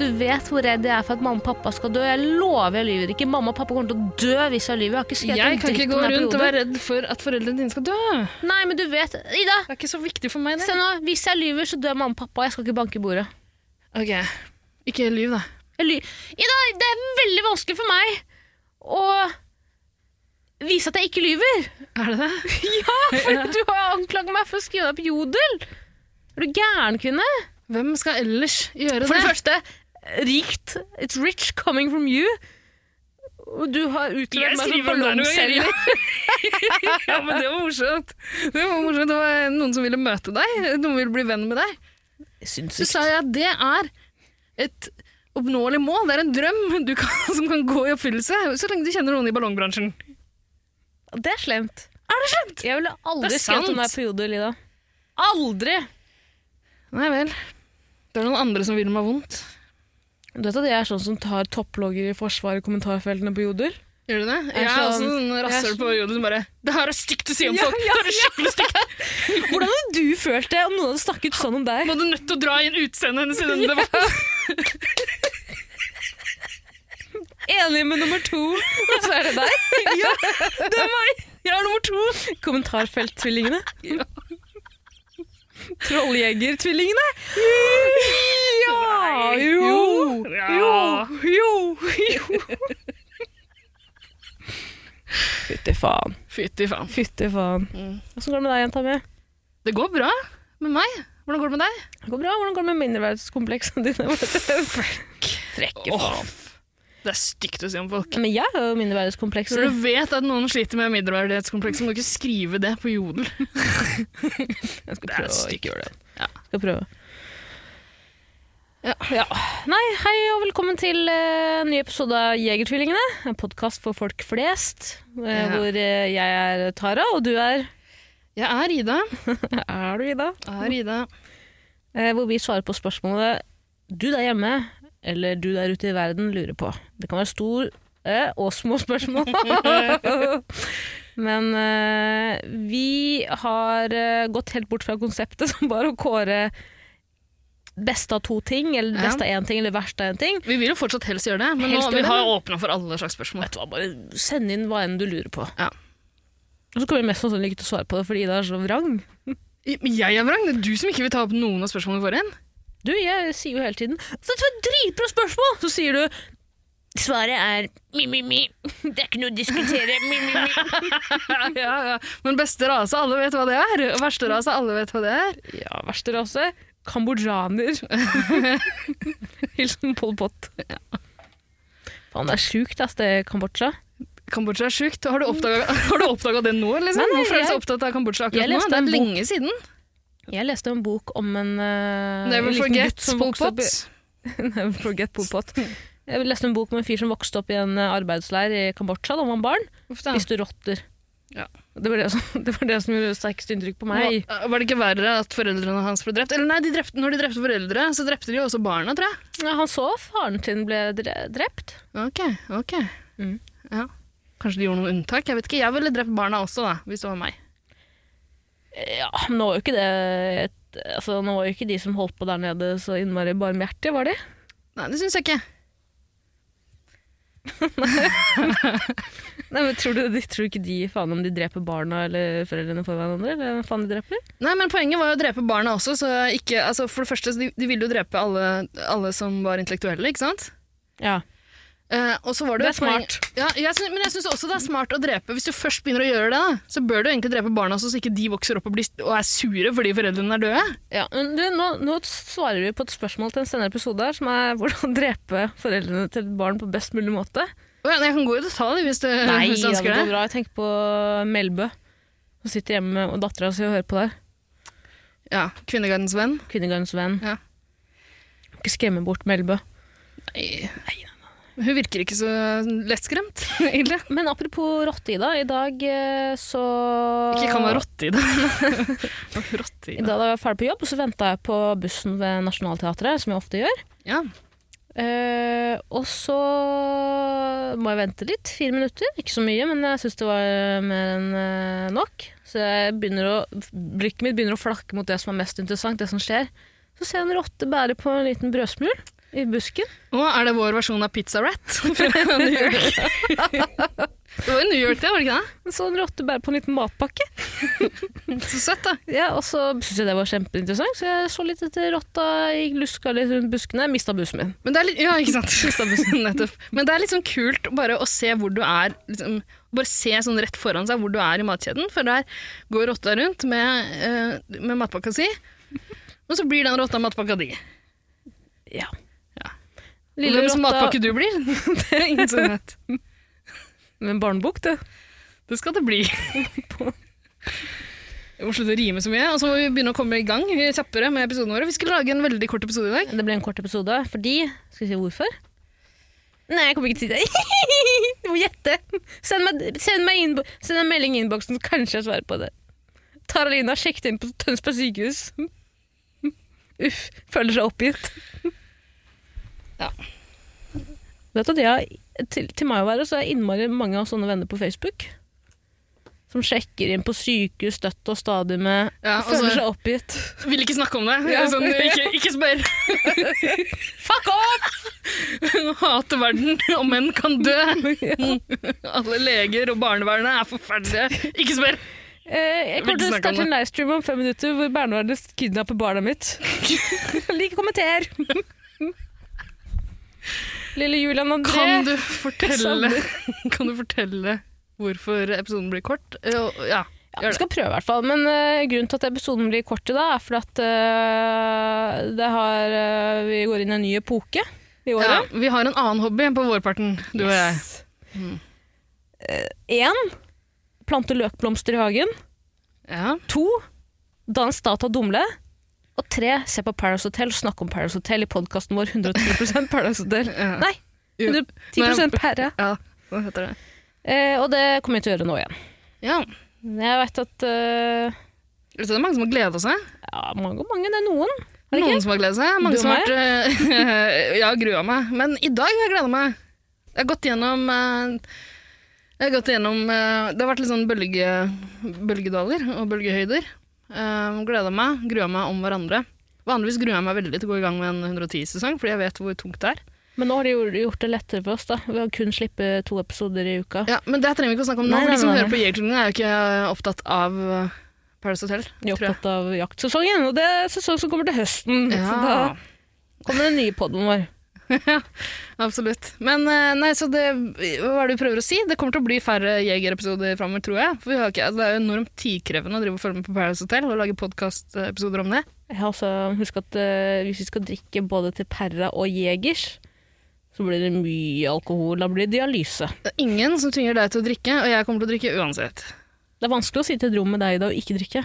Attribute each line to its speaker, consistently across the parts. Speaker 1: Du vet hvor redd jeg er for at mamma og pappa skal dø. Jeg lover jeg lyver ikke. Mamma og pappa kommer til å dø hvis jeg lyver. Jeg har ikke skrevet
Speaker 2: Jeg
Speaker 1: en
Speaker 2: kan
Speaker 1: dritt om
Speaker 2: ikke gå
Speaker 1: denne
Speaker 2: rundt og
Speaker 1: perioden.
Speaker 2: være redd for at foreldrene dine skal dø. Det
Speaker 1: Nei, men du vet Ida!
Speaker 2: er ikke så viktig for meg,
Speaker 1: Se
Speaker 2: det.
Speaker 1: nå, hvis jeg lyver, så dør mamma og pappa. Jeg skal ikke banke i bordet.
Speaker 2: Ok, ikke lyv, da.
Speaker 1: Jeg ly Ida, det er veldig vanskelig for meg å vise at jeg ikke lyver.
Speaker 2: Er det det?
Speaker 1: Ja, for du har anklaget meg for å skrive deg på Jodel. Er du gæren, kvinne?
Speaker 2: Hvem skal ellers gjøre
Speaker 1: For det
Speaker 2: det?
Speaker 1: første, rikt. It's rich coming from you. Og du har utlevert
Speaker 2: Jeg
Speaker 1: meg som
Speaker 2: skriver om det noen ganger,
Speaker 1: ballongselger.
Speaker 2: ja, men det var morsomt. Det var morsomt. Det var noen som ville møte deg. Noen ville bli venn med deg. Så sa jeg at det er et oppnåelig mål. Det er en drøm du kan, som kan gå i oppfyllelse, så lenge du kjenner noen i ballongbransjen.
Speaker 1: Det er slemt. Er det slemt? Jeg ville
Speaker 2: Det
Speaker 1: aldri
Speaker 2: er
Speaker 1: skrevet om
Speaker 2: sant.
Speaker 1: deg på Jodel, Ida. Aldri!
Speaker 2: Nei vel. Det er noen andre som vil meg vondt.
Speaker 1: Du vet at jeg er sånn som tar topplogger i forsvaret i kommentarfeltene på Jodel?
Speaker 2: Gjør du det? Jeg
Speaker 1: Jeg
Speaker 2: er
Speaker 1: er
Speaker 2: også
Speaker 1: sånn-
Speaker 2: sånn rasshøl
Speaker 1: jeg er
Speaker 2: på jodel som bare Det her er stygt å si om
Speaker 1: Ja,
Speaker 2: folk! sånn. Det her er skikkelig stygt!
Speaker 1: Hvordan hadde du følt det om noen hadde snakket sånn om deg?
Speaker 2: Må du nødt til å dra inn utseendet hennes i denne debatten?
Speaker 1: Enig med nummer to, og så er det deg? Ja, det er meg! Jeg er nummer to! Kommentarfelttvillingene.
Speaker 2: Ja.
Speaker 1: Trolljegertvillingene. Ja! Jo!
Speaker 2: Jo. Ja.
Speaker 1: Jo! Jo! Fytti faen.
Speaker 2: Fytti faen.
Speaker 1: Fytti faen.
Speaker 2: Mm.
Speaker 1: Åssen går det med deg, jenta mi?
Speaker 2: Det går bra med meg. Hvordan går det med deg?
Speaker 1: Det går bra. Hvordan går det med mindreverdighetskomplekset ditt? Frekke faen.
Speaker 2: Det er stygt å si om folk.
Speaker 1: Men jeg har jo mindreverdighetskompleks.
Speaker 2: Når du vet at noen sliter med mindreverdighetskomplekser, må du ikke skrive det på jodel.
Speaker 1: Jeg skal
Speaker 2: Det er
Speaker 1: prøve å
Speaker 2: stygt.
Speaker 1: ikke gjøre det.
Speaker 2: Ja.
Speaker 1: Skal prøve.
Speaker 2: Ja.
Speaker 1: Nei, hei og velkommen til eh, en ny episode av Jegertvillingene. En podkast for folk flest. eh,
Speaker 2: Ja.
Speaker 1: Hvor eh, jeg er Tara, og du er
Speaker 2: Jeg er Ida.
Speaker 1: Er du Ida?
Speaker 2: Jeg er Ida.
Speaker 1: Eh, hvor vi svarer på spørsmålet du der hjemme, eller du der ute i verden, lurer på. Det kan være stor eh, og små spørsmål. Men eh, vi har eh, gått helt bort fra konseptet som bare å kåre beste av to ting, eller
Speaker 2: Ja.
Speaker 1: beste av én ting, eller verst av én ting.
Speaker 2: Vi vil jo fortsatt helst gjøre det, men
Speaker 1: Helst
Speaker 2: nå
Speaker 1: gjøre
Speaker 2: vi
Speaker 1: det,
Speaker 2: har vi åpna for alle slags spørsmål.
Speaker 1: Vet du hva, bare send inn hva enn du lurer på.
Speaker 2: Ja.
Speaker 1: Og så kommer vi mest sannsynlig ikke til å svare på det, fordi Ida er så vrang.
Speaker 2: Men jeg er vrang. Det er du som ikke vil ta opp noen av spørsmålene våre. igjen.
Speaker 1: Du, jeg sier jo hele tiden Dette var et dritbra spørsmål! Så sier du Svaret er mi-mi-mi. Det er ikke noe å diskutere. Mi-mi-mi.
Speaker 2: ja, ja. Men beste rase, alle vet hva det er. Og verste rase, alle vet hva det er.
Speaker 1: Ja, verste rase kambodsjaner. Hilsen Pol Pot. Faen, det er sjukt, ass, det Kambodsja.
Speaker 2: Kambodsja er sjukt. Har du oppdaga det nå? liksom?
Speaker 1: Nei, nei,
Speaker 2: Hvorfor er du
Speaker 1: jeg-
Speaker 2: så opptatt av
Speaker 1: Jeg
Speaker 2: Kambodsja akkurat nå?
Speaker 1: leste
Speaker 2: Det
Speaker 1: en bok.
Speaker 2: er lenge siden.
Speaker 1: Jeg leste en bok om en, eh,
Speaker 2: Never
Speaker 1: liten gutt
Speaker 2: forget
Speaker 1: som
Speaker 2: Pol
Speaker 1: vokste opp
Speaker 2: Pot.
Speaker 1: i- Never forget Pol Pot. Jeg leste en bok om en fyr som vokste opp i en eh, arbeidsleir i Kambodsja da han var barn.
Speaker 2: Uff da.
Speaker 1: Spiste rotter.
Speaker 2: Ja.
Speaker 1: Det, var det, som, det var det som gjorde sterkest inntrykk på meg.
Speaker 2: Var eh, var det ikke verre at foreldrene hans ble drept? Eller nei, de drepte, når de drepte foreldre, så drepte de jo også barna, tror jeg.
Speaker 1: Ja, han så faren sin ble dre- drept.
Speaker 2: Ok, ok.
Speaker 1: Mm.
Speaker 2: Ja. Kanskje de gjorde noen unntak? Jeg vet ikke. Jeg ville drept barna også, da, hvis det var meg.
Speaker 1: Ja, men nå var jo ikke det et, altså, Nå var jo ikke de som holdt på der nede så innmari barmhjertige, var de?
Speaker 2: Nei, det syns jeg ikke.
Speaker 1: Nei, men tror du, de, tror du ikke de faen om de dreper barna eller foreldrene for hverandre? Eller hvem faen de dreper?
Speaker 2: Nei, men Poenget var jo å drepe barna også. så ikke, altså for det første, så De, de ville jo drepe alle, alle som var intellektuelle, ikke sant?
Speaker 1: Ja.
Speaker 2: Eh, og så var det, jo
Speaker 1: Det er
Speaker 2: et poeng- Ja, jeg syns- men jeg syns også det er smart å drepe. Hvis du først begynner å gjøre det, da, så bør du egentlig drepe barna også, så ikke de vokser opp og, blir, og er sure fordi foreldrene er døde.
Speaker 1: ja men du, nå, nå svarer vi på et spørsmål til en senere episode her, som er hvordan drepe foreldrene til et barn på best mulig måte.
Speaker 2: Å ja, Jeg kan gå i detalj hvis du, hvis du
Speaker 1: ja,
Speaker 2: ønsker
Speaker 1: det går
Speaker 2: det.
Speaker 1: bra. Jeg tenker på Melbø, som sitter hjemme med og dattera si og hører på der.
Speaker 2: Ja, Kvinnegardens venn.
Speaker 1: Kvinnegardens venn.
Speaker 2: Ja.
Speaker 1: Ikke skremme bort Melbø.
Speaker 2: Nei. Hun virker ikke så lettskremt, egentlig.
Speaker 1: Men apropos rotte, Ida. I dag eh, så
Speaker 2: Ikke kan være rotte i det. rotte i
Speaker 1: I
Speaker 2: det.
Speaker 1: dag da jeg var ferdig på jobb, så venta jeg på bussen ved Nationaltheatret, som jeg ofte gjør.
Speaker 2: Ja.
Speaker 1: Eh, og så må jeg vente litt, fire minutter. Ikke så mye, men jeg syns det var eh, mer enn eh, nok. Så jeg begynner å, blikket mitt begynner å flakke mot det som er mest interessant, det som skjer. Så ser jeg en rotte bære på en liten brødsmul i busken.
Speaker 2: Å, er det vår versjon av Pizza Rat fra New York? det var jo New York, det, var det ikke det?
Speaker 1: En sånn rotte bærer på en liten matpakke.
Speaker 2: Så søtt, da.
Speaker 1: Ja, og så syntes jeg det var kjempeinteressant, så jeg så litt etter rotta, jeg luska litt rundt buskene, mista bussen min.
Speaker 2: Men det er litt, ja, ikke sant? Nettopp. Men det er litt sånn kult bare å se hvor du er liksom, Bare se sånn rett foran seg hvor du er i matkjeden, for der går rotta rundt med, eh, med matpakka si, og så blir den rotta matpakka di.
Speaker 1: Ja.
Speaker 2: Ja.
Speaker 1: Lille
Speaker 2: Hvem som matpakke
Speaker 1: rotta
Speaker 2: du blir, det er ingen som vet.
Speaker 1: med en barnebok, det.
Speaker 2: Det skal det bli. Jeg må slutte å rime så mye, og så må vi begynne å komme i gang kjappere med episodene våre. Vi skulle lage en veldig kort episode i dag.
Speaker 1: Det ble en kort episode fordi Skal vi si hvorfor? Nei, jeg kommer ikke til å si det. Du må gjette. Send meg, send meg innbo- send en melding i innboksen, så kanskje jeg svarer på det. Taralina har sjekket inn på Tønsberg sykehus. Uff. Føler seg oppgitt.
Speaker 2: Ja.
Speaker 1: Vet du at jeg, til, til meg å være, så er jeg innmari mange av sånne venner på Facebook. Som sjekker inn på sykehus støtt og stadig med
Speaker 2: Ja, altså- og
Speaker 1: Føler
Speaker 2: så
Speaker 1: seg oppgitt.
Speaker 2: vil ikke snakke om det.
Speaker 1: Ja.
Speaker 2: Sånn, ikke, ikke spør.
Speaker 1: Fuck off!
Speaker 2: Hun hater verden, og menn kan dø. Alle leger og barnevernet er forferdelige. Ikke spør!
Speaker 1: Eh, jeg
Speaker 2: Vil
Speaker 1: kommer
Speaker 2: ikke
Speaker 1: til å
Speaker 2: snakke om
Speaker 1: starte en livestream om fem minutter hvor barnevernet kidnapper barna mitt. Lik kommenter! Lille Julian André.
Speaker 2: Kan du fortelle, kan du fortelle hvorfor episoden blir kort? Eh, og-
Speaker 1: ja,
Speaker 2: Ja, gjør
Speaker 1: vi
Speaker 2: det.
Speaker 1: skal prøve i hvert fall, men eh, grunnen til at episoden blir kort i dag, er fordi at eh, det har, eh, vi går inn i en ny epoke i
Speaker 2: Ja,
Speaker 1: året.
Speaker 2: vi har en annen hobby på vårparten, du og jeg.
Speaker 1: Yes. Eh, En, plante løkblomster i hagen.
Speaker 2: Ja.
Speaker 1: To, dans data dumle. Og tre, se på Paradise Hotel og snakke om Paradise Hotel i podkasten vår 110 Paradise Hotel.
Speaker 2: Ja.
Speaker 1: Nei,
Speaker 2: Jo.
Speaker 1: 110 Pære.
Speaker 2: Ja, hva heter det?
Speaker 1: Eh, og det kommer jeg til å gjøre nå igjen.
Speaker 2: Ja,
Speaker 1: Jeg veit at eh,
Speaker 2: Vet du, det er mange som har gleda seg.
Speaker 1: Ja, mange og mange, det er noen. Er det
Speaker 2: Noen
Speaker 1: ikke?
Speaker 2: som har gleda seg.
Speaker 1: Mm. Du og
Speaker 2: Mange som har vært eh, Jeg har grua meg. Men i dag har jeg gleda meg. Jeg har gått gjennom eh, jeg har gått gjennom, eh, Det har vært litt sånn bølge, bølgedaler og bølgehøyder. Uh, gleda meg, grua meg om hverandre. Vanligvis gruer jeg meg veldig til å gå i gang med en 110-sesong, fordi jeg vet hvor tungt det er.
Speaker 1: Men nå har de jo gjort det lettere for oss, da. Ved å kun slippe to episoder i uka.
Speaker 2: Ja, men det trenger vi ikke å snakke om nå,
Speaker 1: Nei,
Speaker 2: for
Speaker 1: nei,
Speaker 2: de som
Speaker 1: nei,
Speaker 2: hører på Jegerklubben, er jo ikke opptatt av eh, Paradise Hotel,
Speaker 1: Vi er
Speaker 2: tror jeg.
Speaker 1: opptatt av jaktsesongen, og det er sesong som kommer til høsten. Så da
Speaker 2: Ja.
Speaker 1: kommer den nye podden vår.
Speaker 2: Ja, absolutt. Men eh, nei, så det, hva er det du prøver å si? Det kommer til å bli færre Jeger-episoder framover, tror jeg. For vi har ikke, altså, det er jo enormt tidkrevende å drive og følge med på Paradise Hotel og lage podkastepisoder om det.
Speaker 1: Jeg har også husket at eh, hvis vi skal drikke både til Perra og Jegers, så blir det mye alkohol. Da blir det dialyse.
Speaker 2: Det er ingen som tvinger deg til å drikke, og jeg kommer til å drikke uansett.
Speaker 1: Det er vanskelig å sitte i et rom med deg i dag og ikke drikke.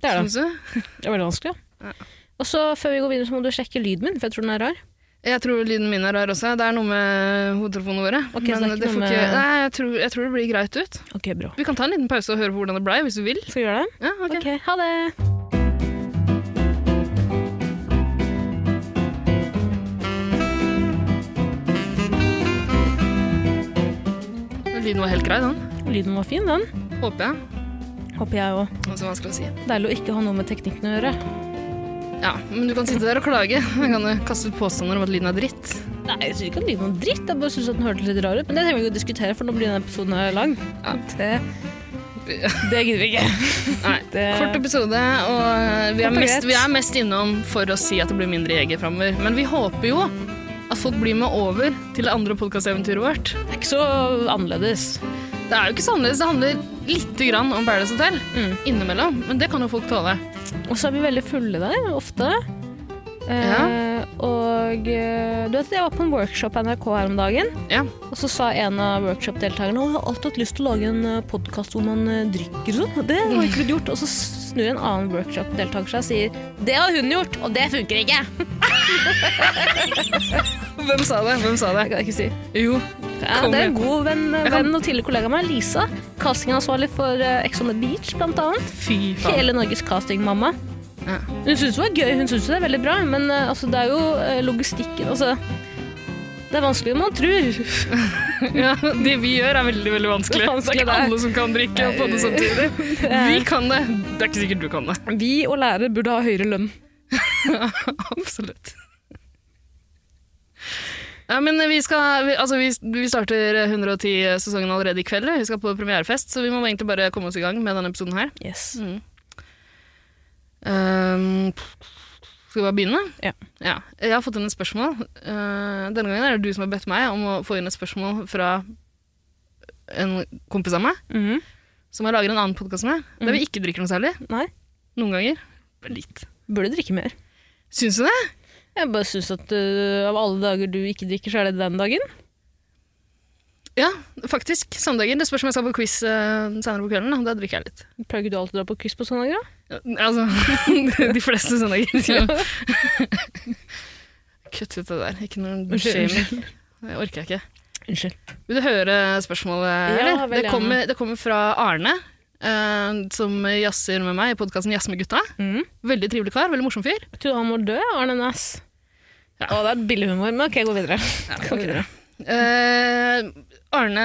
Speaker 1: Det er det.
Speaker 2: Syns du?
Speaker 1: Det er veldig vanskelig. Og så Før vi går videre, så må du sjekke lyden min, for jeg tror den er rar.
Speaker 2: Jeg tror lyden min er rar også. Det er noe med hodetelefonene våre.
Speaker 1: Ok, så det er ikke noe
Speaker 2: får
Speaker 1: med-
Speaker 2: Nei, jeg tror, jeg tror det blir greit ut.
Speaker 1: Ok, bra.
Speaker 2: Vi kan ta en liten pause og høre på hvordan det blei, hvis du vil.
Speaker 1: Skal vi gjøre det?
Speaker 2: Ja, ok.
Speaker 1: Ok, ha det.
Speaker 2: Lyden var helt grei, den.
Speaker 1: Lyden var fin, den.
Speaker 2: Håper jeg. Altså,
Speaker 1: Håper jeg òg.
Speaker 2: Det var så vanskelig å si.
Speaker 1: Deilig å ikke ha noe med teknikken å gjøre.
Speaker 2: Ja, men du kan sitte der og klage. Jeg kan jo kaste ut påstander om at lyden er dritt.
Speaker 1: Nei, jeg syns ikke at lyden var dritt. Jeg bare synes at den hørtes litt rar ut. Men det trenger vi ikke å diskutere, for nå blir denne episoden her lang.
Speaker 2: Ja.
Speaker 1: Det, det gidder vi ikke.
Speaker 2: Nei,
Speaker 1: Det-
Speaker 2: Kort episode, og vi er,
Speaker 1: Kort og
Speaker 2: mest,
Speaker 1: greit.
Speaker 2: vi er mest innom for å si at det blir mindre jeger framover. Men vi håper jo at folk blir med over til det andre podkasteventyret vårt.
Speaker 1: Det er ikke så annerledes.
Speaker 2: Det er jo ikke så annerledes. Det handler lite grann om Paradise Hotel
Speaker 1: Mm.
Speaker 2: innimellom, men det kan jo folk tåle.
Speaker 1: Og så er vi veldig fulle der, ofte. Eh, Og eh, du vet, jeg var på en workshop på NRK her om dagen.
Speaker 2: Ja.
Speaker 1: Og så sa en av workshop-deltakerne at jeg har alltid hatt lyst til å lage en podkast hvor man eh, drikker og sånn. Det har ikke blitt gjort. Og så snur en annen workshop-deltaker seg og sier det har hun gjort, og det funker ikke.
Speaker 2: Hvem sa det? Hvem sa det?
Speaker 1: Det kan jeg ikke si.
Speaker 2: Jo.
Speaker 1: Ja,
Speaker 2: Kom
Speaker 1: det er en
Speaker 2: igjen.
Speaker 1: god venn, venn og tidligere kollega av meg, Lisa. Castingansvarlig for eh, Ex on the Beach, blant annet.
Speaker 2: Fy faen.
Speaker 1: Hele Norges castingmamma.
Speaker 2: Ja.
Speaker 1: Hun syns det var gøy, hun syns det er veldig bra, men eh, altså, det er jo eh, logistikken altså, Det er vanskeligere enn man tror.
Speaker 2: Ja, det vi gjør er veldig veldig
Speaker 1: Det
Speaker 2: vanskelig.
Speaker 1: er
Speaker 2: Det er
Speaker 1: vanskelig,
Speaker 2: ikke
Speaker 1: det er.
Speaker 2: alle som kan drikke og podde samtidig. Vi kan det. Det er ikke sikkert du kan det.
Speaker 1: Vi og lærere burde ha høyere lønn.
Speaker 2: Absolutt. Ja, men vi, skal, vi, altså vi, vi starter 110-sesongen allerede i kveld. Vi skal på premierefest, så vi må egentlig bare komme oss i gang med denne episoden her.
Speaker 1: Yes.
Speaker 2: Ehm, skal vi bare begynne?
Speaker 1: Ja.
Speaker 2: Jeg har fått inn et spørsmål. Eh, denne gangen er det du som har bedt meg om å få inn et spørsmål fra en kompis av meg,
Speaker 1: Mhm.
Speaker 2: som jeg lager en annen podkast med, der vi ikke drikker noe særlig.
Speaker 1: Nei,
Speaker 2: Noen ganger. Bare Litt.
Speaker 1: burde drikke mer.
Speaker 2: Syns du det?
Speaker 1: Jeg bare syns at eh, av alle dager du ikke drikker, så er det den dagen.
Speaker 2: Ja, faktisk. Søndager. Det spørs om jeg skal på quiz eh, senere på kvelden. Da, da drikker jeg litt.
Speaker 1: Pleier ikke du alltid å dra på quiz på søndager, da?
Speaker 2: Ja, Altså, de fleste søndager. Ja. Kutt ut det der. Ikke noe
Speaker 1: Unnskyld,
Speaker 2: shaming. Det orker jeg ikke.
Speaker 1: Unnskyld.
Speaker 2: Vil du høre spørsmålet?
Speaker 1: Ja,
Speaker 2: eller?
Speaker 1: vel
Speaker 2: det,
Speaker 1: gjerne.
Speaker 2: kommer, det kommer fra Arne, eh, som jazzer med meg i podkasten Jazz med gutta.
Speaker 1: Mhm.
Speaker 2: Veldig trivelig kar, veldig morsom fyr.
Speaker 1: Jeg tror han må dø, Arne Næss.
Speaker 2: Ja.
Speaker 1: Å, det er billig humor, men ok, gå videre. Gå videre.
Speaker 2: Eh, Arne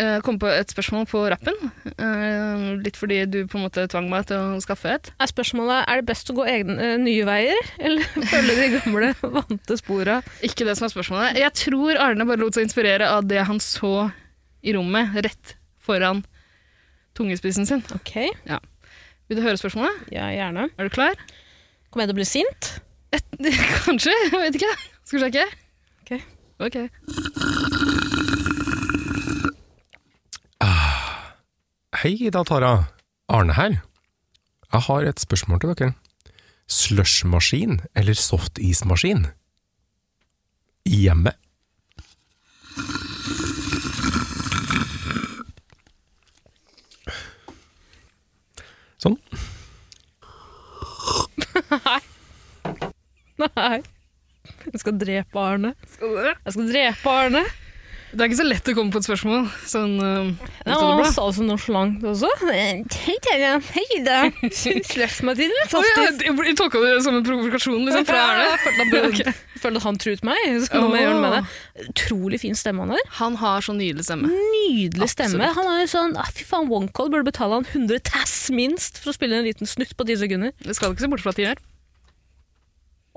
Speaker 2: eh, kom på et spørsmål på rappen. eh, litt fordi du på en måte tvang meg til å skaffe et.
Speaker 1: Er spørsmålet er det best å gå egne, eh, nye veier, eller følge de gamle, vante spora?
Speaker 2: Ikke det som er spørsmålet. Jeg tror Arne bare lot seg inspirere av det han så i rommet rett foran tungespissen sin.
Speaker 1: Ok,
Speaker 2: Vil du høre spørsmålet?
Speaker 1: ja, gjerne.
Speaker 2: Er du klar?
Speaker 1: Kommer jeg til å bli sint?
Speaker 2: Et, kanskje? Jeg vet ikke. Skal vi sjekke?
Speaker 1: Ok.
Speaker 2: Ok.
Speaker 3: Hei, Ida og Tara. Arne her. Jeg har et spørsmål til dere. Slushmaskin eller softismaskin? I hjemmet? Sånn.
Speaker 1: Nei. Jeg skal drepe Arne.
Speaker 2: Skal dere?
Speaker 1: Jeg skal drepe Arne.
Speaker 2: Det er ikke så lett å komme på et spørsmål. Sånn, um,
Speaker 1: Ja, og han sa det så nonchalant også. Eh, Hei, Terje. Hei, Ida. Sløss meg til den.
Speaker 2: oh, ja,
Speaker 1: Softis.
Speaker 2: jeg jeg tolka det som en provokasjon liksom, fra Arne.
Speaker 1: Jeg følte at bro- jeg følte at han truet meg, så nå må jeg gjøre noe med det. Utrolig fin stemme han har.
Speaker 2: Han har så nydelig stemme.
Speaker 1: nydelig stemme.
Speaker 2: Absolutt.
Speaker 1: Han er jo sånn ah, Fy faen, OneCall burde betale han 100 tass minst for å spille en liten snutt på 10 sekunder.
Speaker 2: Det skal du ikke se bort fra at de gjør.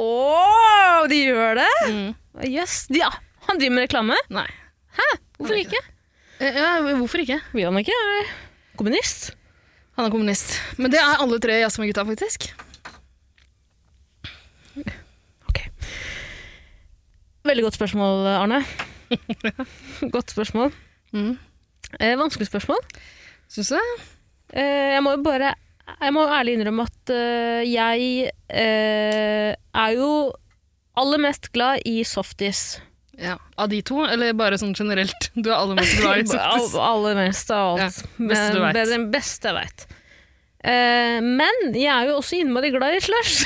Speaker 1: Å, de gjør det? Yes. Ja, han driver med reklame.
Speaker 2: Mm. Nei.
Speaker 1: Hvorfor ikke?
Speaker 2: Eh, Ja, hvorfor ikke?
Speaker 1: Vil han ikke? Er han Kommunist?
Speaker 2: Han er kommunist. Men det er alle tre i Jazz med gutta, faktisk.
Speaker 1: Ok. Veldig godt spørsmål, Arne. godt spørsmål.
Speaker 2: Mm.
Speaker 1: Eh, vanskelig spørsmål.
Speaker 2: Syns du det?
Speaker 1: Eh, jeg må jo bare Jeg må ærlig innrømme at eh, jeg eh, er jo aller mest glad i softis.
Speaker 2: Ja. Av de to, eller bare sånn generelt? Du er aller mest glad i
Speaker 1: Al-
Speaker 2: softis.
Speaker 1: Aller mest av
Speaker 2: Ja,
Speaker 1: alt.
Speaker 2: beste
Speaker 1: Men
Speaker 2: du vet.
Speaker 1: det er den beste jeg veit. men jeg er jo også innmari glad i slush.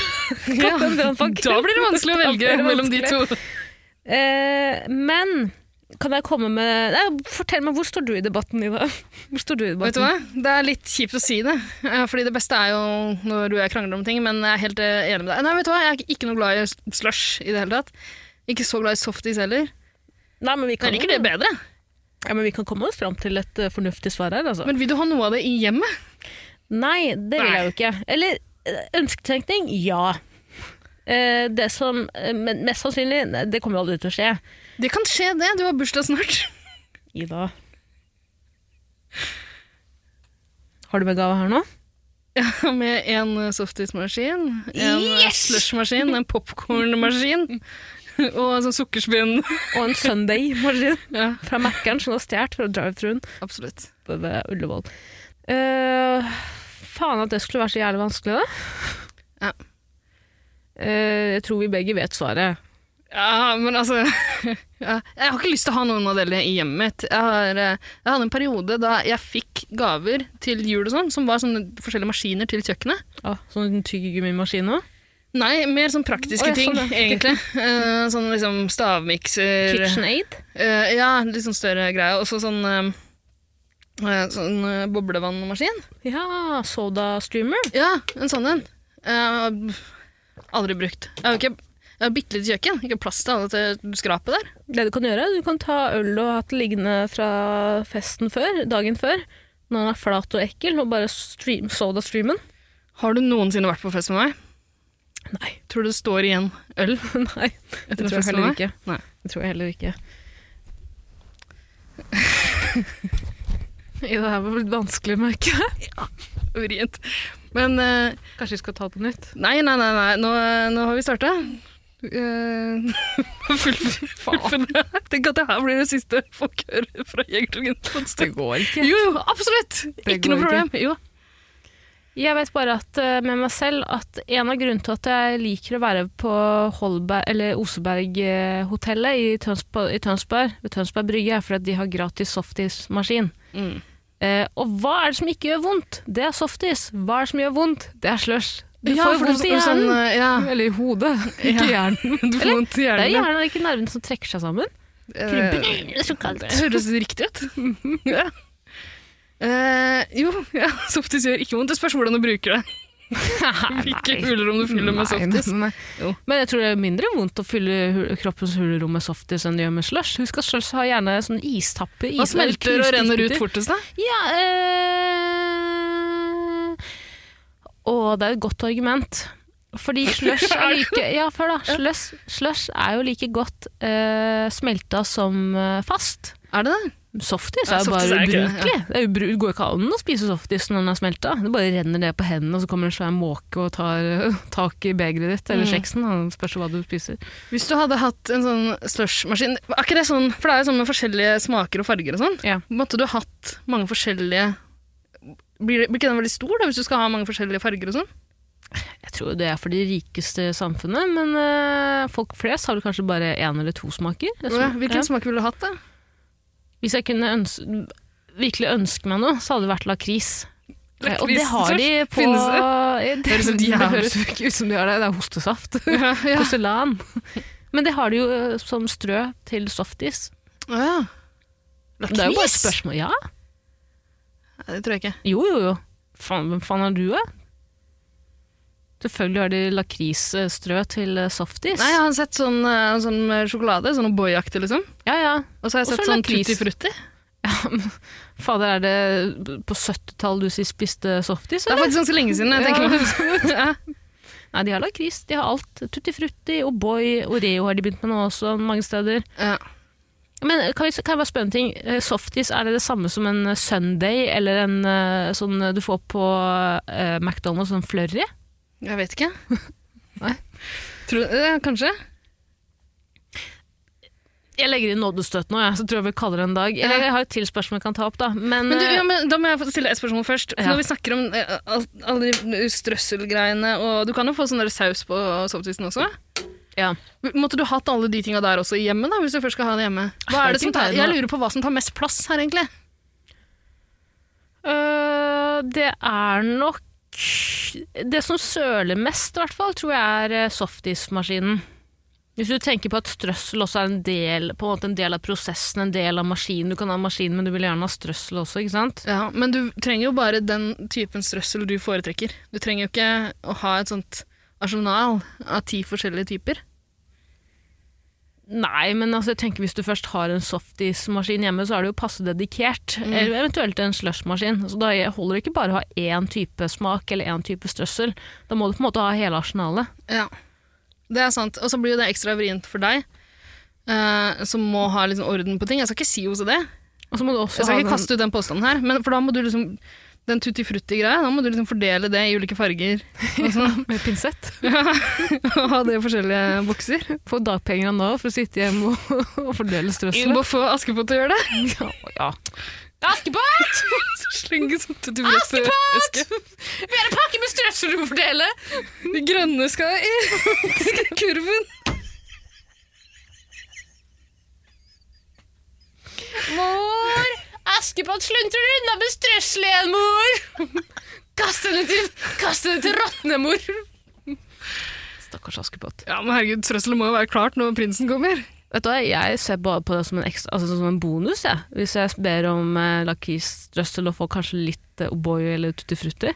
Speaker 2: Ja, Da blir det vanskelig å
Speaker 1: Da
Speaker 2: velge
Speaker 1: blir det
Speaker 2: mellom de to.
Speaker 1: vanskelig. Eh, men kan jeg komme med nei, Fortell meg, hvor står du i debatten i dag? Hvor står du i
Speaker 2: Vet du
Speaker 1: debatten?
Speaker 2: hva? Det er litt kjipt å si det. eh, Fordi det beste er jo når du og jeg krangler om ting, men jeg er helt eh, enig med deg. Nei, vet du hva? Jeg er ikke noe glad i slush i det hele tatt. Ikke så glad i softis heller.
Speaker 1: Nei, men vi
Speaker 2: Jeg
Speaker 1: kan,
Speaker 2: liker det bedre.
Speaker 1: ja, men vi kan komme oss fram til et eh, fornuftig svar her, altså.
Speaker 2: Men vil du ha noe av det i hjemmet?
Speaker 1: Nei, det vil
Speaker 2: Nei.
Speaker 1: jeg jo ikke. Eller eh, ønsketenkning, ja. Eh, det som eh, Men mest sannsynlig, nei, det kommer jo aldri til å skje.
Speaker 2: Det kan skje, det. Du har bursdag snart.
Speaker 1: Ida. Har du med gave her nå?
Speaker 2: Med en eh, softismaskin, en yes!
Speaker 1: Yes!
Speaker 2: slushmaskin, en popkornmaskin og en sånn sukkerspinn.
Speaker 1: Og en Sunday-maskin
Speaker 2: Ja,
Speaker 1: fra Mækkern som du har stjålet fra drive-thruen
Speaker 2: absolutt.
Speaker 1: på- ved Ullevål. Eh, faen at det skulle være så jævlig vanskelig, da.
Speaker 2: Ja.
Speaker 1: Eh, jeg tror vi begge vet svaret.
Speaker 2: Ja, men altså ja, Jeg har ikke lyst til å ha noen av delene i hjemmet mitt. Jeg, har, eh, jeg hadde en periode da jeg fikk gaver til jul og sånn, som var sånne forskjellige maskiner til kjøkkenet.
Speaker 1: Ah, sånn tyggegummimaskin òg?
Speaker 2: Nei, mer sånn praktiske
Speaker 1: Å, ja,
Speaker 2: ting,
Speaker 1: sånn, ja.
Speaker 2: egentlig. Eh, sånn liksom stavmikser
Speaker 1: KitchenAid?
Speaker 2: eh, Ja, litt sånn større greie. Og så sånn, eh, eh, sånn eh, boblevannmaskin.
Speaker 1: Ja, Soda Streamer.
Speaker 2: Ja, en sånn en. Eh, aldri brukt. Jeg har jo ikke jeg har bitte lite kjøkken. Ikke plass til alle til skrapet der.
Speaker 1: Det du kan gjøre, du kan ta øl og hatt liggende fra festen før, dagen før, når den er flat og ekkel, og bare stream, soda streamen.
Speaker 2: Har du noensinne vært på fest med meg?
Speaker 1: Nei.
Speaker 2: Tror du det står igjen øl
Speaker 1: Nei, det
Speaker 2: etter en
Speaker 1: tror jeg
Speaker 2: fest med
Speaker 1: heller
Speaker 2: meg?
Speaker 1: ikke.
Speaker 2: Nei.
Speaker 1: Det tror jeg heller ikke. det her var litt vanskelig, merker jeg.
Speaker 2: Vrient. Men eh,
Speaker 1: Kanskje vi skal ta det på nytt?
Speaker 2: Nei, nei, nei, nei. Nå, eh, nå har vi starta. Eh, Tenk at det her blir det siste folk hører fra Jegertvingen på en stund.
Speaker 1: går ikke.
Speaker 2: Jo, jo, absolutt! ikke
Speaker 1: går
Speaker 2: noe problem. Jo.
Speaker 1: Jeg vet bare at, eh, med meg selv at en av grunnene til at jeg liker å være på Holberg, eller Oseberghotellet i, Tønsberg, i Tønsberg, ved Tønsberg Brygge, er fordi at de har gratis softismaskin.
Speaker 2: Mm.
Speaker 1: Eh, og hva er det som ikke gjør vondt? Det er softis. Hva er det som gjør vondt? Det er slush. Du
Speaker 2: Ja,
Speaker 1: får
Speaker 2: for
Speaker 1: vondt i
Speaker 2: er sånn,
Speaker 1: hjernen.
Speaker 2: eh, ja.
Speaker 1: Eller i hodet,
Speaker 2: Ja.
Speaker 1: hjernen.
Speaker 2: Du får
Speaker 1: Eller,
Speaker 2: vondt i
Speaker 1: Det er
Speaker 2: hjernen.
Speaker 1: hjernen, ikke nervene som trekker seg sammen.
Speaker 2: Eh,
Speaker 1: Det er så kaldt.
Speaker 2: Det høres riktig ut. ja. Eh, jo, ja, softis gjør ikke vondt. Det spørs hvordan du bruker det. Hvilke hulrom du fyller med
Speaker 1: Nei,
Speaker 2: softis.
Speaker 1: nei, nei.
Speaker 2: Jo.
Speaker 1: Men jeg tror det er mindre vondt å fylle hu- kroppens hulrom med softis enn det gjør med slush. Husk at slush har gjerne sånn istappe.
Speaker 2: Hva
Speaker 1: is-
Speaker 2: smelter og
Speaker 1: knuste
Speaker 2: renner ut
Speaker 1: isbiter.
Speaker 2: fortest, da?
Speaker 1: Ja, eh... Å, det er et godt argument. Fordi slush er like Ja, hør da. Slush, slush er jo like godt eh, smelta som eh, fast.
Speaker 2: Er det det?
Speaker 1: Softis er
Speaker 2: Ja,
Speaker 1: jo
Speaker 2: softis
Speaker 1: bare
Speaker 2: er ikke det,
Speaker 1: ubrukelig. Det er ubru- det går ikke an å spise softis når den er smelta. Det bare renner ned på hendene, og så kommer en svær måke og tar eh, tak i begeret ditt eller
Speaker 2: Mm.
Speaker 1: kjeksen. og Spørs hva du spiser.
Speaker 2: Hvis du hadde hatt en sånn slushmaskin Er ikke det sånn, for det er jo sånn med forskjellige smaker og farger og sånn.
Speaker 1: Ja.
Speaker 2: Måtte du hatt mange forskjellige blir, det- blir ikke den veldig stor da, hvis du skal ha mange forskjellige farger og sånn?
Speaker 1: Jeg tror det er for de rikeste i samfunnet, men eh, folk flest har vel kanskje bare én eller to smaker. Jeg tror-
Speaker 2: Ja, hvilken
Speaker 1: ja.
Speaker 2: smak ville du hatt da?
Speaker 1: Hvis jeg kunne øns virkelig ønske meg noe, så hadde det vært lakris. Eh, Og det har de på
Speaker 2: Finnes det?
Speaker 1: Det
Speaker 2: Høres helt jævlig
Speaker 1: jo ikke ut som de har det, det er hostesaft.
Speaker 2: Ja, ja.
Speaker 1: Poselan. Men det har de jo eh, som strø til softis.
Speaker 2: Å, ja.
Speaker 1: Det er jo bare et
Speaker 2: Lakris?
Speaker 1: spørsmål. Ja.
Speaker 2: Nei, det tror jeg ikke.
Speaker 1: Jo, jo, jo. Faen, hvem faen er du, da? Selvfølgelig har de lakrisstrø til eh, softis.
Speaker 2: Nei, jeg har sett sånn, eh, sånn med sjokolade, sånn O'boy-aktig liksom.
Speaker 1: ja, ja.
Speaker 2: Og så har jeg
Speaker 1: Og
Speaker 2: sett
Speaker 1: så
Speaker 2: sånn
Speaker 1: lakris.
Speaker 2: Tutti Frutti.
Speaker 1: Fader, er det på 70-tallet du sist spiste softis,
Speaker 2: Det er
Speaker 1: eller?
Speaker 2: faktisk ganske lenge siden jeg
Speaker 1: Ja.
Speaker 2: tenker meg om. ja.
Speaker 1: Nei, de har lakris, de har alt. Tutti Frutti, O'boy, Oreo har de begynt med nå også, mange steder.
Speaker 2: Ja.
Speaker 1: Men eh, kan, vi, kan jeg bare spørre en ting? Eh, Softis, er det det samme som en eh, Sunday, eller en eh, sånn eh, du får på eh, McDonald's, sånn flurry?
Speaker 2: Jeg vet ikke. Nei. Tror, eh, kanskje.
Speaker 1: Jeg legger inn nådestøt nå, jeg, så tror jeg vi kaller det en dag. Eller jeg har et til spørsmål jeg kan ta opp, da. Men,
Speaker 2: Men, du, ja,
Speaker 1: eh,
Speaker 2: men Da må jeg få stille et spørsmål først. For
Speaker 1: Ja.
Speaker 2: Når vi snakker om eh, alt- alle de strøsselgreiene og Du kan jo få sånn der saus på softisen også.
Speaker 1: eh, ja.
Speaker 2: Måtte du hatt alle de tinga der også i hjemmet? da, hvis du først skal ha det hjemme? Hva
Speaker 1: Har
Speaker 2: er det
Speaker 1: ikke
Speaker 2: som tar,
Speaker 1: tegnet.
Speaker 2: jeg lurer på hva som tar mest plass her, egentlig.
Speaker 1: Øh, det er nok Det som søler mest, i hvert fall, tror jeg er eh, softismaskinen. Hvis du tenker på at strøssel også er en del, på en måte en del av prosessen, en del av maskinen. Du kan ha maskin, men du vil gjerne ha strøssel også, ikke sant?
Speaker 2: Ja, Men du trenger jo bare den typen strøssel du foretrekker. Du trenger jo ikke å ha et sånt arsenal av ti forskjellige typer.
Speaker 1: Nei, men altså, jeg tenker hvis du først har en softismaskin hjemme, så er det jo passe dedikert. Eller eventuelt en slushmaskin. Så da holder det ikke bare å ha én type smak eller én type strøssel. Da må du på en måte ha hele arsenalet.
Speaker 2: Ja, det er sant. Og så blir jo det ekstra vrient for deg, eh, som må ha litt sånn orden på ting. Jeg skal ikke si OCD,
Speaker 1: Og så må du også
Speaker 2: Jeg skal
Speaker 1: ha
Speaker 2: ikke
Speaker 1: den-
Speaker 2: kaste ut den påstanden her, men for da må du liksom den tutti frutti-greia, da må du liksom fordele det i ulike farger. Og sånn.
Speaker 1: med pinsett.
Speaker 2: Og ha det i forskjellige bokser.
Speaker 1: Få dagpenger av Nav for å sitte hjemme og, og fordele
Speaker 2: Du
Speaker 1: strøsselet.
Speaker 2: må få Askepott til å gjøre det.
Speaker 1: Ja, ja. Askepott!
Speaker 2: Så Slenge sånn tutti frutti-eske.
Speaker 1: Vi har en pakke med strøssel du må fordele!
Speaker 2: De grønne skal i kurven.
Speaker 1: Mor! Askepott sluntrer unna med strøssel igjen, mor! Kast henne til, kast henne til rottene, mor! Stakkars Askepott.
Speaker 2: Ja, men herregud, trøsselet må jo være klart når prinsen kommer.
Speaker 1: Vet du hva, Jeg ser bare på det som en, ekstra, altså som en bonus, jeg. hvis jeg ber om eh, lakristrøssel og får kanskje litt eh, O'boy eller tutti frutti.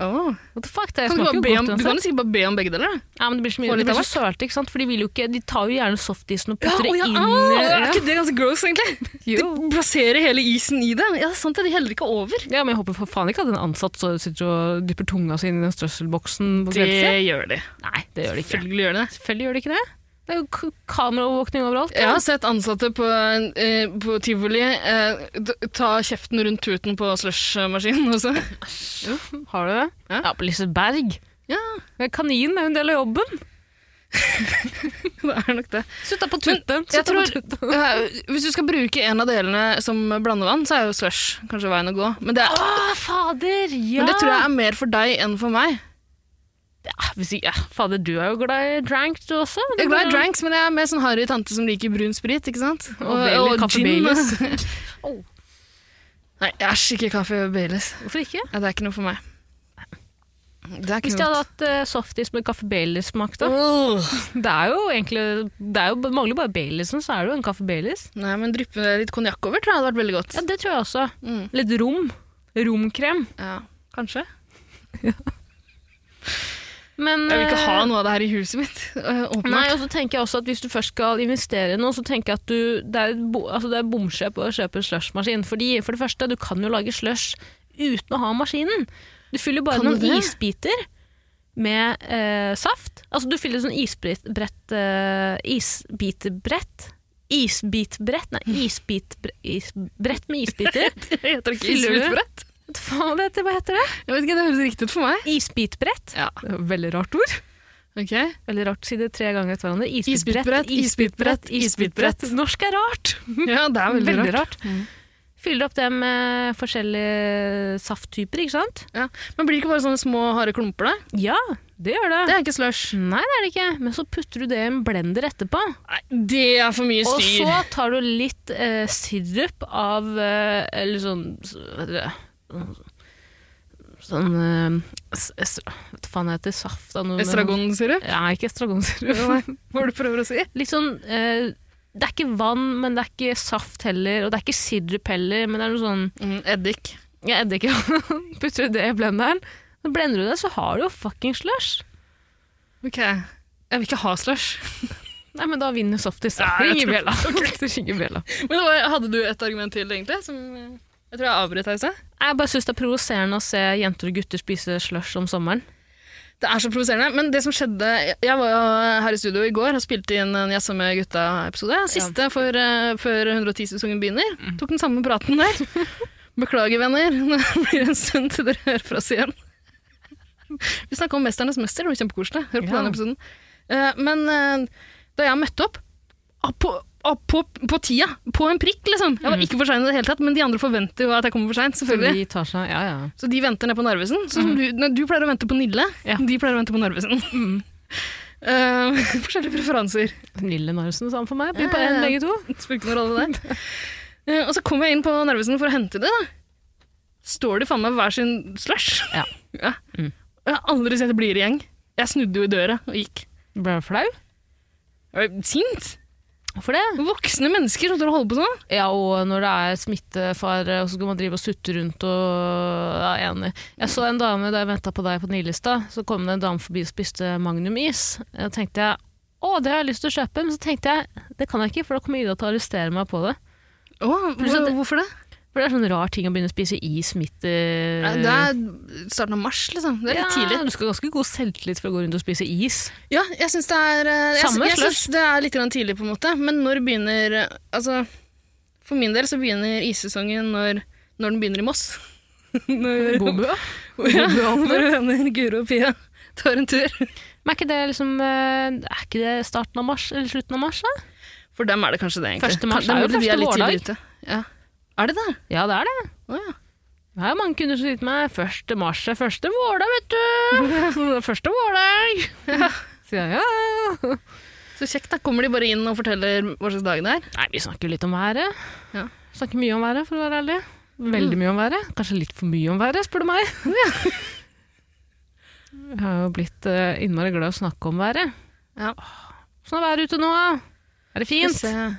Speaker 1: What the fuck, det
Speaker 2: Kan du,
Speaker 1: smaker
Speaker 2: bare
Speaker 1: jo
Speaker 2: be om,
Speaker 1: godt
Speaker 2: du kan
Speaker 1: uansett.
Speaker 2: jo sikkert bare be om begge deler. da.
Speaker 1: Ja, men det blir så mye,
Speaker 2: Får
Speaker 1: det
Speaker 2: litt
Speaker 1: blir
Speaker 2: av
Speaker 1: så sølte, ikke sant? For de, vil jo ikke, de tar jo gjerne softisen og
Speaker 2: Ja,
Speaker 1: putter
Speaker 2: å,
Speaker 1: det
Speaker 2: ja,
Speaker 1: inn
Speaker 2: au,
Speaker 1: i
Speaker 2: er
Speaker 1: ja.
Speaker 2: ikke det ganske gross, egentlig? De plasserer hele isen i det. Ja, det er sant det, de heller ikke over.
Speaker 1: ja, men jeg håper for faen ikke at en ansatt så sitter og dypper tunga si inn i den strøsselboksen på kveldstid.
Speaker 2: gjør de.
Speaker 1: Nei, det gjør det ikke.
Speaker 2: Selvfølgelig gjør de det.
Speaker 1: Selvfølgelig gjør det ikke det. Det er jo k- kameraovervåkning overalt.
Speaker 2: Jeg har sett ansatte på, eh, på tivoli eh, d- ta kjeften rundt tuten på slushmaskinen også.
Speaker 1: Har du det?
Speaker 2: Ja.
Speaker 1: Ja, på Liseberg.
Speaker 2: Ja,
Speaker 1: Men Kaninen er jo en del av jobben.
Speaker 2: det er nok det.
Speaker 1: Sutta på tutten.
Speaker 2: jeg
Speaker 1: sutta på
Speaker 2: tror-
Speaker 1: tutten.
Speaker 2: Eh, hvis du skal bruke en av delene som blandevann, så er jo slush kanskje veien å gå. Men det, er,
Speaker 1: Å, fader! Ja!
Speaker 2: men det tror jeg er mer for deg enn for meg.
Speaker 1: Ja, hvis ikke, ja, fader, du er jo glad i dranks, du også.
Speaker 2: Jeg er glad i dranks, men jeg er mer sånn harry tante som liker brun sprit, ikke sant?
Speaker 1: Og Baileys, kaffe Baileys. Au.
Speaker 2: Nei, æsj, ikke kaffe Baileys.
Speaker 1: Hvorfor ikke?
Speaker 2: Ja, det er ikke noe for meg. Det er ikke
Speaker 1: Hvis de hadde
Speaker 2: noe.
Speaker 1: hatt eh, softis med kaffe Baileys-smak, da.
Speaker 2: Åh.
Speaker 1: Det er jo egentlig Det er jo, det mangler bare Baileysen, så er det jo en kaffe Baileys.
Speaker 2: Nei, men dryppe litt konjakk over tror jeg hadde vært veldig godt.
Speaker 1: Ja, det tror jeg også.
Speaker 2: Mm.
Speaker 1: Litt rom. Romkrem.
Speaker 2: Ja, kanskje.
Speaker 1: Men
Speaker 2: Jeg vil ikke ha
Speaker 1: eh,
Speaker 2: noe av det her i huset mitt. øh,
Speaker 1: Nei,
Speaker 2: Åpenbart.
Speaker 1: og så tenker jeg også at Hvis du først skal investere i noe, så tenker jeg at du, det er, et bo- altså det er bomkjøp å kjøpe en slushmaskin. Fordi, for det første, du kan jo lage slush uten å ha maskinen. Du fyller bare
Speaker 2: Kan du
Speaker 1: noen
Speaker 2: det?
Speaker 1: isbiter med eh, saft. Altså du fyller sånn isbrett eh, Isbitbrett. Isbitbrett? Nei, isbitbrett, isbrett med isbiter.
Speaker 2: Jeg heter ikke
Speaker 1: Fyller du?
Speaker 2: isbitbrett.
Speaker 1: Hva faen heter- hva heter det?
Speaker 2: Jeg vet ikke, det høres riktig ut for meg.
Speaker 1: Isbitbrett.
Speaker 2: Ja,
Speaker 1: Det er et Veldig rart ord.
Speaker 2: ok.
Speaker 1: Veldig rart å si det tre ganger etter hverandre.
Speaker 2: Isbitbrett, isbitbrett, isbitbrett.
Speaker 1: Norsk er rart.
Speaker 2: Ja, det er veldig,
Speaker 1: Veldig
Speaker 2: rart.
Speaker 1: rart.
Speaker 2: Mm.
Speaker 1: Fyller opp det med forskjellige safttyper, ikke sant?
Speaker 2: Ja. Men blir det ikke bare sånne små harde klumper da?
Speaker 1: Ja, det gjør det.
Speaker 2: Det er ikke slush.
Speaker 1: Nei, det er det ikke. Men så putter du det i en blender etterpå.
Speaker 2: Nei, det er for mye
Speaker 1: Og
Speaker 2: styr.
Speaker 1: så tar du litt eh, sirup av eh, Eller sånn Hva heter det? Sånn eh, s- s- Hva faen heter det? Saft? av noe-
Speaker 2: Estragonsyrup?
Speaker 1: Ja, ikke estragonsirup.
Speaker 2: Hva er det du prøver å si?
Speaker 1: Litt sånn eh, Det er ikke vann, men det er ikke saft heller. Og det er ikke sirup heller, men det er noe sånn
Speaker 2: Mm, eddik.
Speaker 1: Jeg edder ikke. Putter du det i blenderen, så blender du det, så har du jo fucking slush.
Speaker 2: Ok. Jeg vil ikke ha slush.
Speaker 1: Nei, men da vinner softis. da.
Speaker 2: Nei, jeg
Speaker 1: Ringer
Speaker 2: tror-
Speaker 1: bjella. Ringer bjella.
Speaker 2: Men hva- hadde du et argument til, egentlig? Som eh, jeg tror jeg avbrøt deg i sted.
Speaker 1: Jeg bare syns det er provoserende å se jenter og gutter spise slush om sommeren.
Speaker 2: Det er så provoserende. Men det som skjedde Jeg var jo her i studio i går og spilte inn en Jazza med gutta-episode. Siste før, eh, før 110-sesongen begynner. Tok den samme praten der. Beklager, venner. Nå blir det en stund til dere hører fra oss igjen. Vi snakka om 'Mesternes mester'. Det var kjempekoselig. Hør på
Speaker 1: Ja.
Speaker 2: den episoden. Eh, Men eh, da jeg møtte opp ah, på, ah, på, på tida, på en prikk, liksom. Jeg var ikke for sein i det hele tatt, men de andre forventer jo at jeg kommer for seint, selvfølgelig.
Speaker 1: De tar seg, ja, ja.
Speaker 2: Så de venter ned på Narvesen. Sånn som du, nei, du pleier å vente på Nille,
Speaker 1: Mhm. Ja. Mm.
Speaker 2: de pleier å vente på Narvesen. Eh, forskjellige preferanser.
Speaker 1: Den Lille Narvesen sammen for meg. Blir
Speaker 2: Ja,
Speaker 1: bare
Speaker 2: ja,
Speaker 1: en
Speaker 2: ja.
Speaker 1: begge to.
Speaker 2: Det Spiller ikke noen rolle, det. Eh, og så kom jeg inn på Narvesen for å hente det. da. Står de faen meg hver sin slush.
Speaker 1: Ja. Mm.
Speaker 2: Og Jeg har aldri sett det blir i gjeng. Jeg snudde jo i døra og gikk.
Speaker 1: Ble du flau?
Speaker 2: Jeg ble sint!
Speaker 1: For det?
Speaker 2: Voksne mennesker som står og holder på sånn.
Speaker 1: Ja, og når det er smittefare, og så skal man drive og sutte rundt og ja, enig. Jeg så en dame da jeg venta på deg på Nilestad, så kom det en dame forbi og spiste magnumis. Da tenkte jeg å, det har jeg lyst til å kjøpe, men så tenkte jeg det kan jeg ikke, for da kommer Ida til å arrestere meg på det.
Speaker 2: Åh,
Speaker 1: Pluss at-
Speaker 2: hvor- hvorfor det?
Speaker 1: For det er sånn rar ting å begynne å spise i smitte...
Speaker 2: Ja, Det er starten av mars, liksom. Det er litt tidlig.
Speaker 1: Eh. Ja, du skal ha ganske god selvtillit for å gå rundt og spise is.
Speaker 2: Ja, jeg syns det er eh, jeg,
Speaker 1: Samme
Speaker 2: sy- jeg
Speaker 1: slush.
Speaker 2: synes det er litt grann tidlig, på en måte. Men når begynner eh, Altså, for min del så begynner issesongen når, når den begynner i Moss. når,
Speaker 1: Godbø.
Speaker 2: ja, når venner Guro og Pia tar en tur.
Speaker 1: Men er ikke det liksom eh, Er ikke det starten av mars, eller slutten av mars, da?
Speaker 2: For dem er det kanskje det, egentlig.
Speaker 1: Første mars
Speaker 2: Kan-
Speaker 1: er jo
Speaker 2: dem er det de
Speaker 1: første
Speaker 2: litt tidlig
Speaker 1: vårdag.
Speaker 2: ute. Ja. Er det det?
Speaker 1: Ja, det er det.
Speaker 2: Å ja.
Speaker 1: Det er jo mange kunder som sier til meg 1. mars er første vårdag, vet du. Første vårdag. Sier jeg ja.
Speaker 2: Så kjekt, da. Kommer de bare inn og forteller hva slags dag det er?
Speaker 1: Nei, vi snakker jo litt om været.
Speaker 2: Ja. Mm.
Speaker 1: Snakker mye om været, for å være ærlig. Veldig mye om været. Kanskje litt for mye om været, spør du meg. Jeg har jo blitt eh, innmari glad i å snakke om været.
Speaker 2: Ja.
Speaker 1: Sånn er været ute nå. Er det
Speaker 2: Det
Speaker 1: fint?
Speaker 2: ser,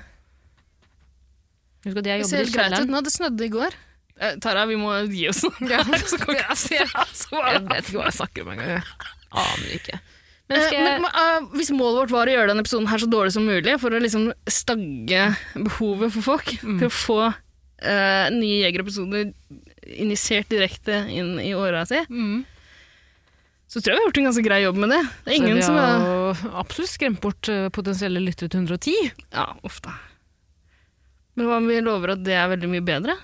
Speaker 1: Husk at jeg
Speaker 2: det ser
Speaker 1: jobber i
Speaker 2: helt greit ut
Speaker 1: kjelleren.
Speaker 2: nå. Det snødde i går. Eh, Tara, vi må gi oss nå. Så kan vi ikke se så
Speaker 1: Jeg
Speaker 2: bra.
Speaker 1: vet ikke hva jeg snakker om engang. jeg. Aner ikke. Men
Speaker 2: Eh,
Speaker 1: skal
Speaker 2: Men,
Speaker 1: jeg
Speaker 2: eh, hvis målet vårt var å gjøre denne episoden her så dårlig som mulig, for å liksom stagge behovet for folk
Speaker 1: Mm.
Speaker 2: til å få eh, nye Jeger-episoder injisert direkte inn i åra si,
Speaker 1: mm.
Speaker 2: så tror jeg vi har gjort en ganske grei jobb med det. Det er ingen
Speaker 1: Så
Speaker 2: som
Speaker 1: Vi
Speaker 2: er,
Speaker 1: har jo absolutt skremt bort eh, potensielle lyttere til 110.
Speaker 2: Ja, ofte. Men hva om vi lover at det er veldig mye bedre?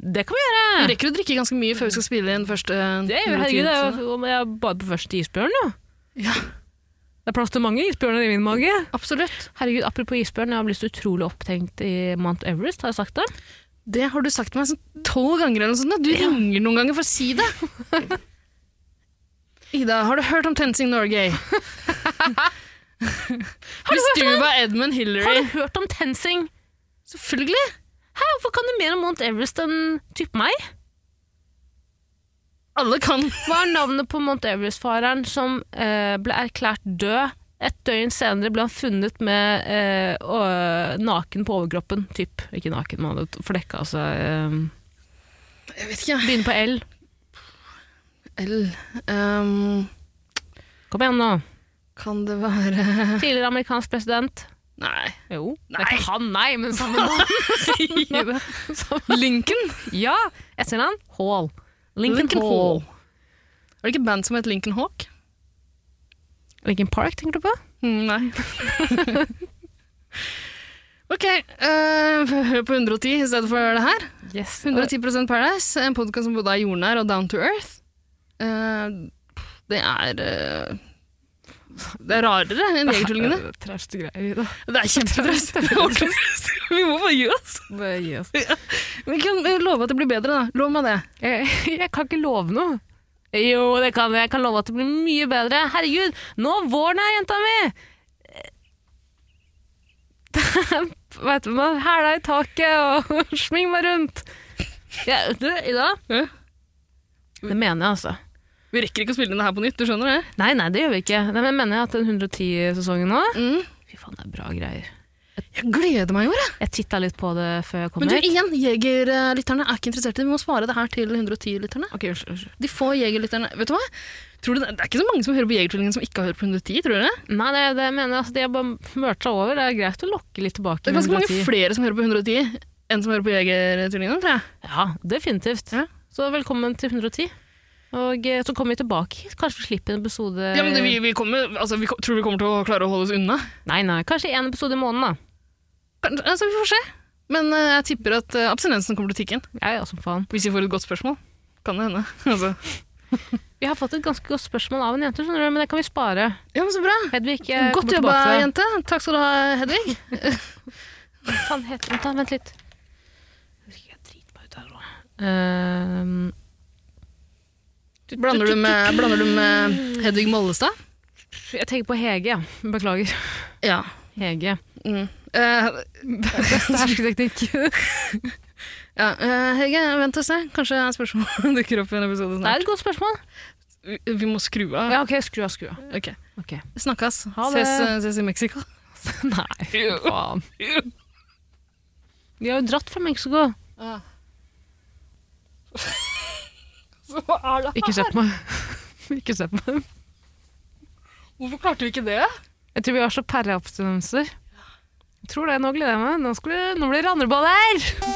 Speaker 1: Det kan vi gjøre!
Speaker 2: Vi rekker å drikke ganske mye før vi skal spille inn første
Speaker 1: Det er, jo- herregud, det er jo om jeg bare på første isbjørn, jo.
Speaker 2: Ja,
Speaker 1: Det er plass til mange isbjørner i min mage.
Speaker 2: absolutt.
Speaker 1: Herregud, Apropos isbjørn, jeg har blitt så utrolig opptenkt i Mount Everest, har jeg sagt det?
Speaker 2: Det har du sagt til meg sånn tolv ganger eller noe sånt. da. Du ringer noen ganger for å si det. Ida, har du hørt om Tensing Norway? Hvis du var Edmund
Speaker 1: Har
Speaker 2: Hillary
Speaker 1: du hørt om TenSing?
Speaker 2: Selvfølgelig!
Speaker 1: Hæ, hvorfor kan du mer om Mount Everest enn type meg?
Speaker 2: Alle kan.
Speaker 1: Hva er navnet på Mount Everest-fareren som eh, ble erklært død? Et døgn senere ble han funnet med eh, å- naken på overkroppen. Typ. Ikke naken, men han hadde flekka seg. eh,
Speaker 2: Jeg vet ikke.
Speaker 1: begynner på L.
Speaker 2: L ehm,
Speaker 1: Kom igjen, nå.
Speaker 2: Kan det være
Speaker 1: Tidligere amerikansk president.
Speaker 2: Nei.
Speaker 1: Jo. Det
Speaker 2: Nei.
Speaker 1: er ikke han, nei, men samme navn. Samme-
Speaker 2: Lincoln?
Speaker 1: ja, etternavn? Hall. Lincoln,
Speaker 2: Lincoln
Speaker 1: Hall.
Speaker 2: Hall. Var det ikke et band som het Lincoln Hawk?
Speaker 1: Lincoln Park, tenker du på?
Speaker 2: Mm, Nei. ok, eh, hør på 110 i stedet for det her.
Speaker 1: Yes.
Speaker 2: 110 Paradise, en podkast som både er jordnær og down to earth. Eh, det er eh, Det er rarere enn Jegertvillingene.
Speaker 1: Trauste greier. Ida.
Speaker 2: Det er kjempetraust. Det er ordentlig traust. Vi må bare gi oss.
Speaker 1: Det gir oss.
Speaker 2: Vi kan eh, love at det blir bedre, da. Lov meg det.
Speaker 1: Jeg, Eh, jeg kan ikke love noe. Jo, det kan jeg. Jeg kan love at det blir mye bedre. Herregud, nå våren er jenta mi! Eh, Vet du, man hæla i taket og sming meg rundt. Jeg, du, Ida.
Speaker 2: Ja.
Speaker 1: Det mener jeg, altså.
Speaker 2: Vi rekker ikke å spille inn det her på nytt, du skjønner det?
Speaker 1: Nei, nei, det gjør vi ikke. Nei, men mener jeg at den 110-sesongen nå
Speaker 2: Mm.
Speaker 1: Fy faen, det er bra greier.
Speaker 2: Jeg gleder meg jo, jeg.
Speaker 1: Jeg titta litt på det før jeg kom
Speaker 2: Men du,
Speaker 1: hit.
Speaker 2: igjen, jegerlytterne er ikke interessert i det. Vi må spare det her til 110-lytterne.
Speaker 1: Ok, unnskyld, unnskyld.
Speaker 2: De få jegerlytterne Vet du hva? Tror du det, det er ikke så mange som hører på Jegertvillingen som ikke har hørt på 110, tror du det?
Speaker 1: Nei, det, det mener jeg. Altså, de har bare mørt seg over. Det er greit å lokke litt tilbake.
Speaker 2: Det er ganske
Speaker 1: med
Speaker 2: mange
Speaker 1: 110.
Speaker 2: flere som hører på 110 enn som hører på Jegertvillingen, tror jeg.
Speaker 1: Ja, definitivt.
Speaker 2: Ja.
Speaker 1: Så velkommen til 110. Og eh, så kommer vi tilbake hit. Kanskje vi slipper en episode
Speaker 2: Ja, men det, vi, vi kommer, altså, vi, kom- tror du vi kommer til å klare å holde oss unna?
Speaker 1: Nei, nei, kanskje en episode i måneden, da.
Speaker 2: Kan- Altså, vi får se. Men eh, jeg tipper at eh, abstinensen kommer til å tikke inn.
Speaker 1: Ja, ja, som faen.
Speaker 2: Hvis vi får et godt spørsmål. Kan det hende. Altså.
Speaker 1: Vi har fått et ganske godt spørsmål av en jente, skjønner du, men det kan vi spare.
Speaker 2: Ja, men så bra.
Speaker 1: Hedvig, jeg
Speaker 2: Godt
Speaker 1: kommer
Speaker 2: jobba,
Speaker 1: tilbake til deg.
Speaker 2: jente. Takk skal du ha, Hedvig.
Speaker 1: Hva faen heter den? Ta, Vent litt. Jeg husker jeg driter meg ut her nå. Ehm,
Speaker 2: Blander du med, blander du med Hedvig Mollestad?
Speaker 1: jeg tenker på Hege, ja. Beklager.
Speaker 2: Ja.
Speaker 1: Hege.
Speaker 2: Mm. Eh,
Speaker 1: Beste hersketeknikk.
Speaker 2: ja. eh, Hege, vent og se. Kanskje spørsmålet dukker opp i en episode
Speaker 1: Det er
Speaker 2: snart.
Speaker 1: et godt spørsmål.
Speaker 2: Vi, vi må skru av.
Speaker 1: Ja, OK, skru av, skru av.
Speaker 2: Ok.
Speaker 1: Ok.
Speaker 2: Snakkes.
Speaker 1: Ha det.
Speaker 2: Ses, eh, ses i Mexico.
Speaker 1: Nei, faen. Vi har jo dratt fra Mexico.
Speaker 2: Ah. Så hva er det
Speaker 1: Ikke se på meg. Ikke se på meg.
Speaker 2: Hvorfor klarte vi ikke det?
Speaker 1: Jeg tror vi har så pæreabstinenser. Jeg tror det. Nå gleder jeg meg. Nå, skal vi, nå blir det andreballer!